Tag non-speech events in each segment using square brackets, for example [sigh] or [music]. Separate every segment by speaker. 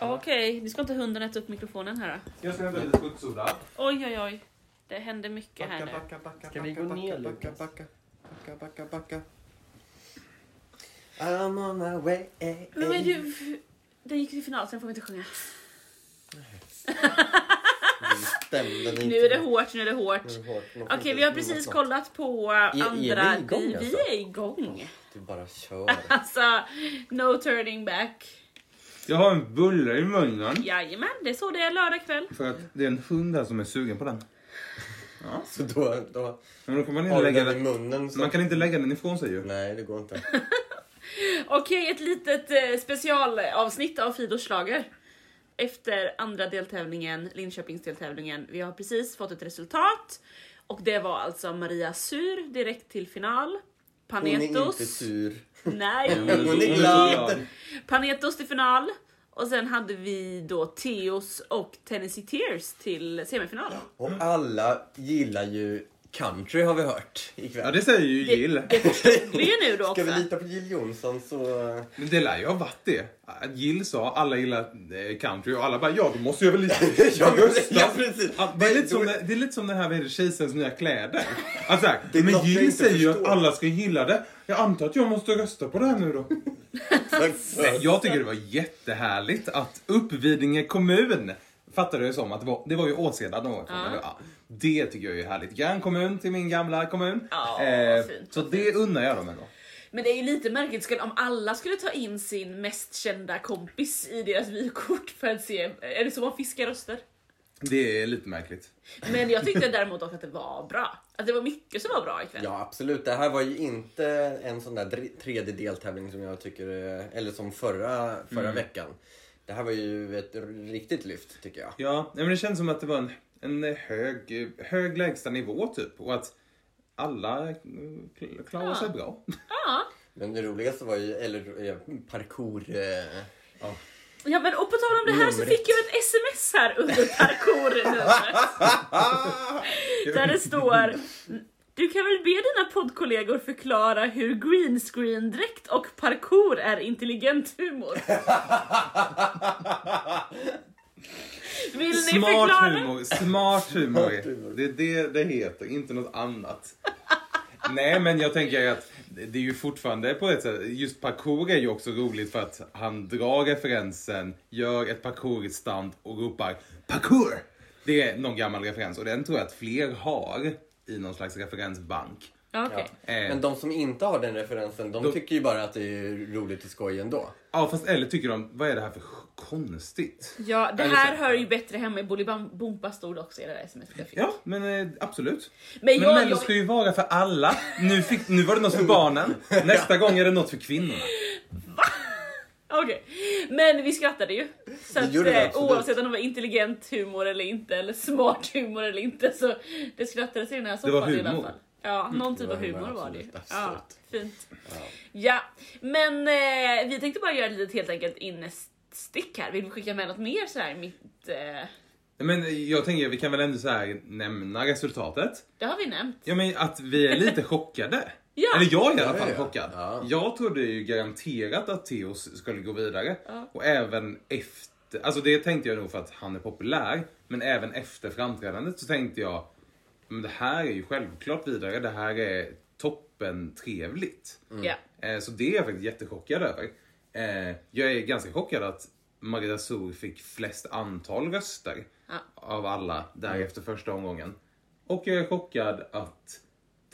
Speaker 1: Okej, nu ska inte hunden äta upp mikrofonen här då.
Speaker 2: Jag ska hämta lite skuggsoda.
Speaker 1: Oj, oj, oj. Det händer mycket här nu.
Speaker 2: backa,
Speaker 3: Ska vi gå ner, Lukas?
Speaker 2: backa, backa, backa, backa.
Speaker 3: I'm on my way.
Speaker 1: Men, men du, den gick till final, sen får vi inte sjunga.
Speaker 3: Stämde det
Speaker 1: Nu är det hårt, nu är det hårt.
Speaker 3: Mm.
Speaker 1: Okej, vi har precis kollat på
Speaker 3: vi
Speaker 1: andra...
Speaker 3: igång,
Speaker 1: vi, vi
Speaker 3: alltså?
Speaker 1: är igång.
Speaker 3: Du
Speaker 1: [laughs]
Speaker 3: bara kör.
Speaker 1: Alltså, no turning back.
Speaker 2: Jag har en bulle i munnen.
Speaker 1: Jajamän, det är så det är lördag kväll.
Speaker 2: För att det är en hund där som är sugen på den.
Speaker 3: Så då, då
Speaker 2: Men då kan man inte
Speaker 3: har du
Speaker 2: lägga
Speaker 3: den i
Speaker 2: den.
Speaker 3: munnen. Så.
Speaker 2: Man kan inte lägga den ifrån sig ju.
Speaker 3: Nej, det går inte.
Speaker 1: Okej, ett litet eh, specialavsnitt av Fidos schlager. Efter andra deltävlingen, Linköpingsdeltävlingen. Vi har precis fått ett resultat. Och det var alltså Maria Syr direkt till final.
Speaker 3: Hon är
Speaker 1: Panetos.
Speaker 3: inte sur.
Speaker 1: Nej.
Speaker 3: Hon är glad.
Speaker 1: Panetos till final. Och sen hade vi då Theos och Tennessee Tears till semifinal.
Speaker 3: Och alla gillar ju country har vi hört ikväll.
Speaker 2: Ja, det säger ju Jill.
Speaker 1: Det förstod vi ju nu då också.
Speaker 3: Ska vi lita på Jill Johnson så...
Speaker 2: Men det lär ju ha varit det. Att Jill sa alla gillar eh, country och alla bara [laughs] ja, då måste jag väl lite...
Speaker 3: [laughs] Ja, men-
Speaker 2: Gustav.
Speaker 3: ja, precis.
Speaker 2: Ja, Det är lite som det, det, är lite som det här med Kejsarens nya kläder. Alltså, här,
Speaker 3: Det är
Speaker 2: men
Speaker 3: något jag
Speaker 2: Jill
Speaker 3: inte
Speaker 2: säger ju att
Speaker 3: förstår.
Speaker 2: alla ska gilla det. Jag antar att jag måste rösta på det här nu då. Nej, jag tycker det var jättehärligt att Uppvidinge kommun fattade det som att det var, det var ju Åseda de var ifrån. eller? Ja. Det tycker jag är härligt. Grannkommun till min gamla kommun. Eh,
Speaker 1: Ja, fint,
Speaker 2: så det unnar jag dem ändå.
Speaker 1: Men det är ju lite märkligt skulle- om alla skulle ta in sin mest kända kompis i deras vykort för att se, är det så man fiskar röster?
Speaker 2: Det är lite märkligt.
Speaker 1: Men jag tyckte däremot också att det var bra. Att det var mycket som var bra ikväll.
Speaker 3: Ja absolut, det här var ju inte en sån där dr- tredje deltävling som jag tycker, eh, eller som förra, förra veckan. Det här var ju ett r- riktigt lyft tycker jag.
Speaker 2: Ja, nej, men det känns som att det var en, en hög, hög lägsta nivå typ. Och att alla eh, kl- klarar
Speaker 1: Ja.
Speaker 2: sig bra.
Speaker 1: Ja.
Speaker 3: Men det roligaste var ju, eller eh, parkour... eh,
Speaker 1: ja men och på tal om det här så
Speaker 3: Numret.
Speaker 1: fick jag ett sms här under parkournumret. Där det står Du kan väl be dina poddkollegor förklara hur greenscreen-dräkt och parkour är intelligent humor? Vill ni
Speaker 2: Smart
Speaker 1: förklara?
Speaker 2: humor, smart humor.
Speaker 3: Smart humor.
Speaker 2: Det är det det heter, inte något annat. Nej, men jag tänker att det det är ju fortfarande på ett sätt, just parkour är ju också roligt för att han drar referensen, gör ett parkourstunt och ropar parkour! Det är någon gammal referens och den tror jag att fler har i någon slags referensbank.
Speaker 1: Ja, okej.
Speaker 2: Eh,
Speaker 3: Men de som inte har den referensen, de
Speaker 2: Då-
Speaker 3: tycker ju bara att det är roligt och skoj ändå.
Speaker 2: Ja, fast eller tycker de, vad är det här för konstigt?
Speaker 1: Ja, det
Speaker 2: Eller
Speaker 1: här
Speaker 2: så-
Speaker 1: hör ju bättre hemma i Bolibompa stod det också i det där sms jag fick.
Speaker 2: Ja, men eh, absolut.
Speaker 1: Men
Speaker 2: Men,
Speaker 1: jag,
Speaker 2: Mello
Speaker 1: jag,
Speaker 2: ska ju vara för alla. Nu, fick, nu var det något för barnen. Nästa gång är det något för kvinnorna.
Speaker 1: okej. men vi skrattade ju. Så
Speaker 3: Det
Speaker 1: att,
Speaker 3: gjorde vi
Speaker 1: eh,
Speaker 3: absolut.
Speaker 1: oavsett om det var intelligent humor eller inte, eller smart humor eller inte, så det skrattades i den här soffan
Speaker 2: var
Speaker 1: i alla
Speaker 2: humor.
Speaker 1: fall. Ja, någon typ
Speaker 3: var
Speaker 1: av humor
Speaker 3: humor,
Speaker 1: var det ju.
Speaker 3: absolut,
Speaker 1: Ja,
Speaker 3: absolut.
Speaker 1: fint. Ja, men eh, vi tänkte bara göra ett litet helt enkelt innestick här. Vill vi skicka med något mer sådär mitt... Eh,
Speaker 2: Men jag tänker, vi kan väl ändå så här nämna resultatet.
Speaker 1: det har vi nämnt.
Speaker 2: Ja, men att vi är lite [laughs] chockade.
Speaker 1: Ja.
Speaker 2: Eller jag är i
Speaker 3: Ja,
Speaker 2: alla fall
Speaker 3: ja.
Speaker 2: chockad.
Speaker 3: Ja.
Speaker 2: Jag trodde ju garanterat att Theos skulle gå vidare.
Speaker 1: Ja.
Speaker 2: Och även efter, alltså det tänkte jag nog för att han är populär. Men även efter framträdandet så tänkte jag, men det här är ju självklart vidare. Det här är toppen trevligt.
Speaker 1: Ja.
Speaker 2: Eh, Så det är jag faktiskt jättechockad över. Eh, Jag är ganska chockad att Maria Sor fick flest antal röster
Speaker 1: Ja.
Speaker 2: av alla där efter första omgången. Och jag är chockad att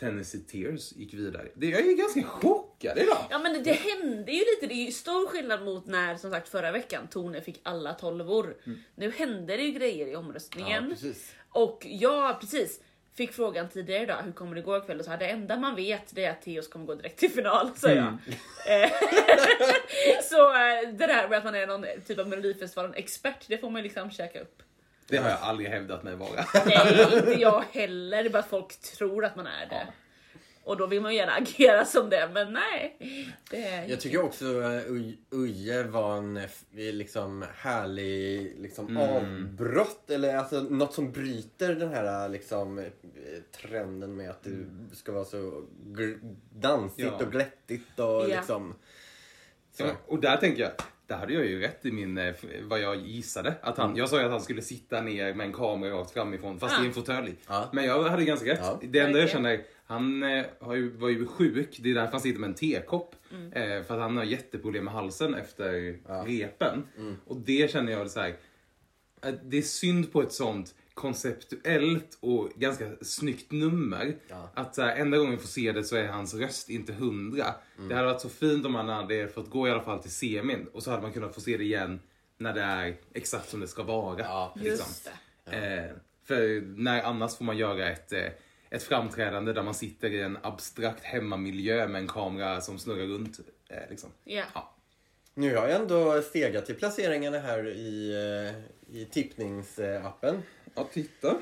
Speaker 2: Tennessee Tears gick vidare. Det- Jag är ganska chockad idag.
Speaker 1: Ja men det, det hände ju lite, det är ju stor skillnad mot när som sagt förra veckan Tone fick alla tolvor. Nu hände det ju grejer i omröstningen.
Speaker 3: precis.
Speaker 1: och jag precis fick frågan tidigare idag, hur kommer det gå ikväll? Och så här, det enda man vet det är att Theoz kommer gå direkt till final, sa jag. Eh, [laughs] så eh, det där med att man är någon typ av Melodifestivalen-expert, det får man ju liksom käka upp.
Speaker 2: Det har jag aldrig hävdat mig vara.
Speaker 1: Nej, inte jag heller. Det är bara att folk tror att man är det. Och då vill man ju gärna agera som det, men nej. Det...
Speaker 3: Jag tycker också eh, Uj- Uje var en eh, f- liksom härlig liksom
Speaker 2: Mm.
Speaker 3: avbrott eller alltså något som bryter den här liksom eh, trenden med att det ska vara så gl- dansigt
Speaker 2: Mm. Ja.
Speaker 3: och glättigt och
Speaker 1: Ja.
Speaker 3: liksom så.
Speaker 2: Ja, Och där tänker jag, Där hade jag ju rätt i min, eh, f- vad jag gissade. Att
Speaker 3: Mm.
Speaker 2: han, jag sa ju att han skulle sitta ner med en kamera rakt framifrån, fast i en fåtölj.
Speaker 3: Ja.
Speaker 2: Men jag hade ganska rätt.
Speaker 3: Ja.
Speaker 2: Det enda jag
Speaker 1: Verkligen.
Speaker 2: känner, han eh, har ju, var ju sjuk. Det är därför han sitter med en tekopp. Eh, för att han har jätteproblem med halsen efter repen.
Speaker 3: Mm.
Speaker 2: Och det känner jag så här, att det är synd på ett sånt konceptuellt och ganska snyggt nummer.
Speaker 3: Ja.
Speaker 2: Att så här, enda gången vi får se det så är hans röst inte hundra.
Speaker 3: Mm.
Speaker 2: Det hade varit så fint om han hade fått gå i alla fall till semin och så hade man kunnat få se det igen när det är exakt som det ska vara.
Speaker 3: Ja,
Speaker 2: liksom.
Speaker 1: Just det.
Speaker 2: Eh, för när annars får man göra ett, eh, ett framträdande där man sitter i en abstrakt hemmamiljö med en kamera som snurrar runt. Eh, liksom.
Speaker 1: Ja.
Speaker 2: Ja.
Speaker 3: Nu har jag ändå stegat till placeringarna här i, eh, i tippningsappen.
Speaker 2: ja, titta.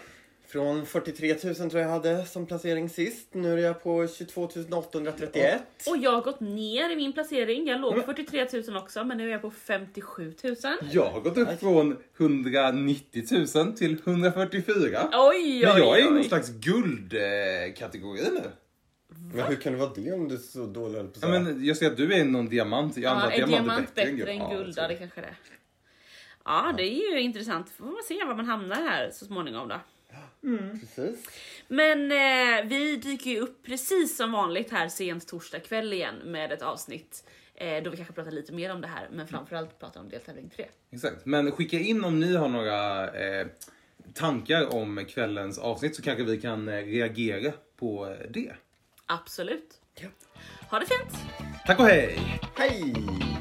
Speaker 3: Från 43 000 tror jag hade som placering sist. Nu är jag på 22 831.
Speaker 1: Och jag har gått ner i min placering. Jag låg på 43 000 också, men nu är jag på 57 000.
Speaker 2: Jag har gått upp från 190 000 till 144 000.
Speaker 1: Oj, oj,
Speaker 2: Men jag är i någon
Speaker 1: oj.
Speaker 2: slags guldkategori nu.
Speaker 3: Men hur kan det vara det om du är så dålig höll på att
Speaker 2: Ja,
Speaker 3: säga?
Speaker 2: men jag ser att du är någon diamant. Jag antar
Speaker 1: Ja,
Speaker 2: att
Speaker 1: är diamant
Speaker 2: än alltså.
Speaker 1: bättre än guld?
Speaker 2: Ja,
Speaker 1: Ja, det kanske det är. Ja, det är ju intressant. Får man se var man hamnar här så småningom då.
Speaker 3: Precis.
Speaker 1: Men eh, vi dyker ju upp precis som vanligt här sent torsdag kväll igen med ett avsnitt eh, då vi kanske pratar lite mer om det här, men framförallt pratar om deltävling 3.
Speaker 2: Exakt. Men skicka in om ni har några eh, tankar om kvällens avsnitt så kanske vi kan eh, reagera på eh, det.
Speaker 1: Absolut. Ha det fint!
Speaker 2: Tack och hej!
Speaker 3: Hej!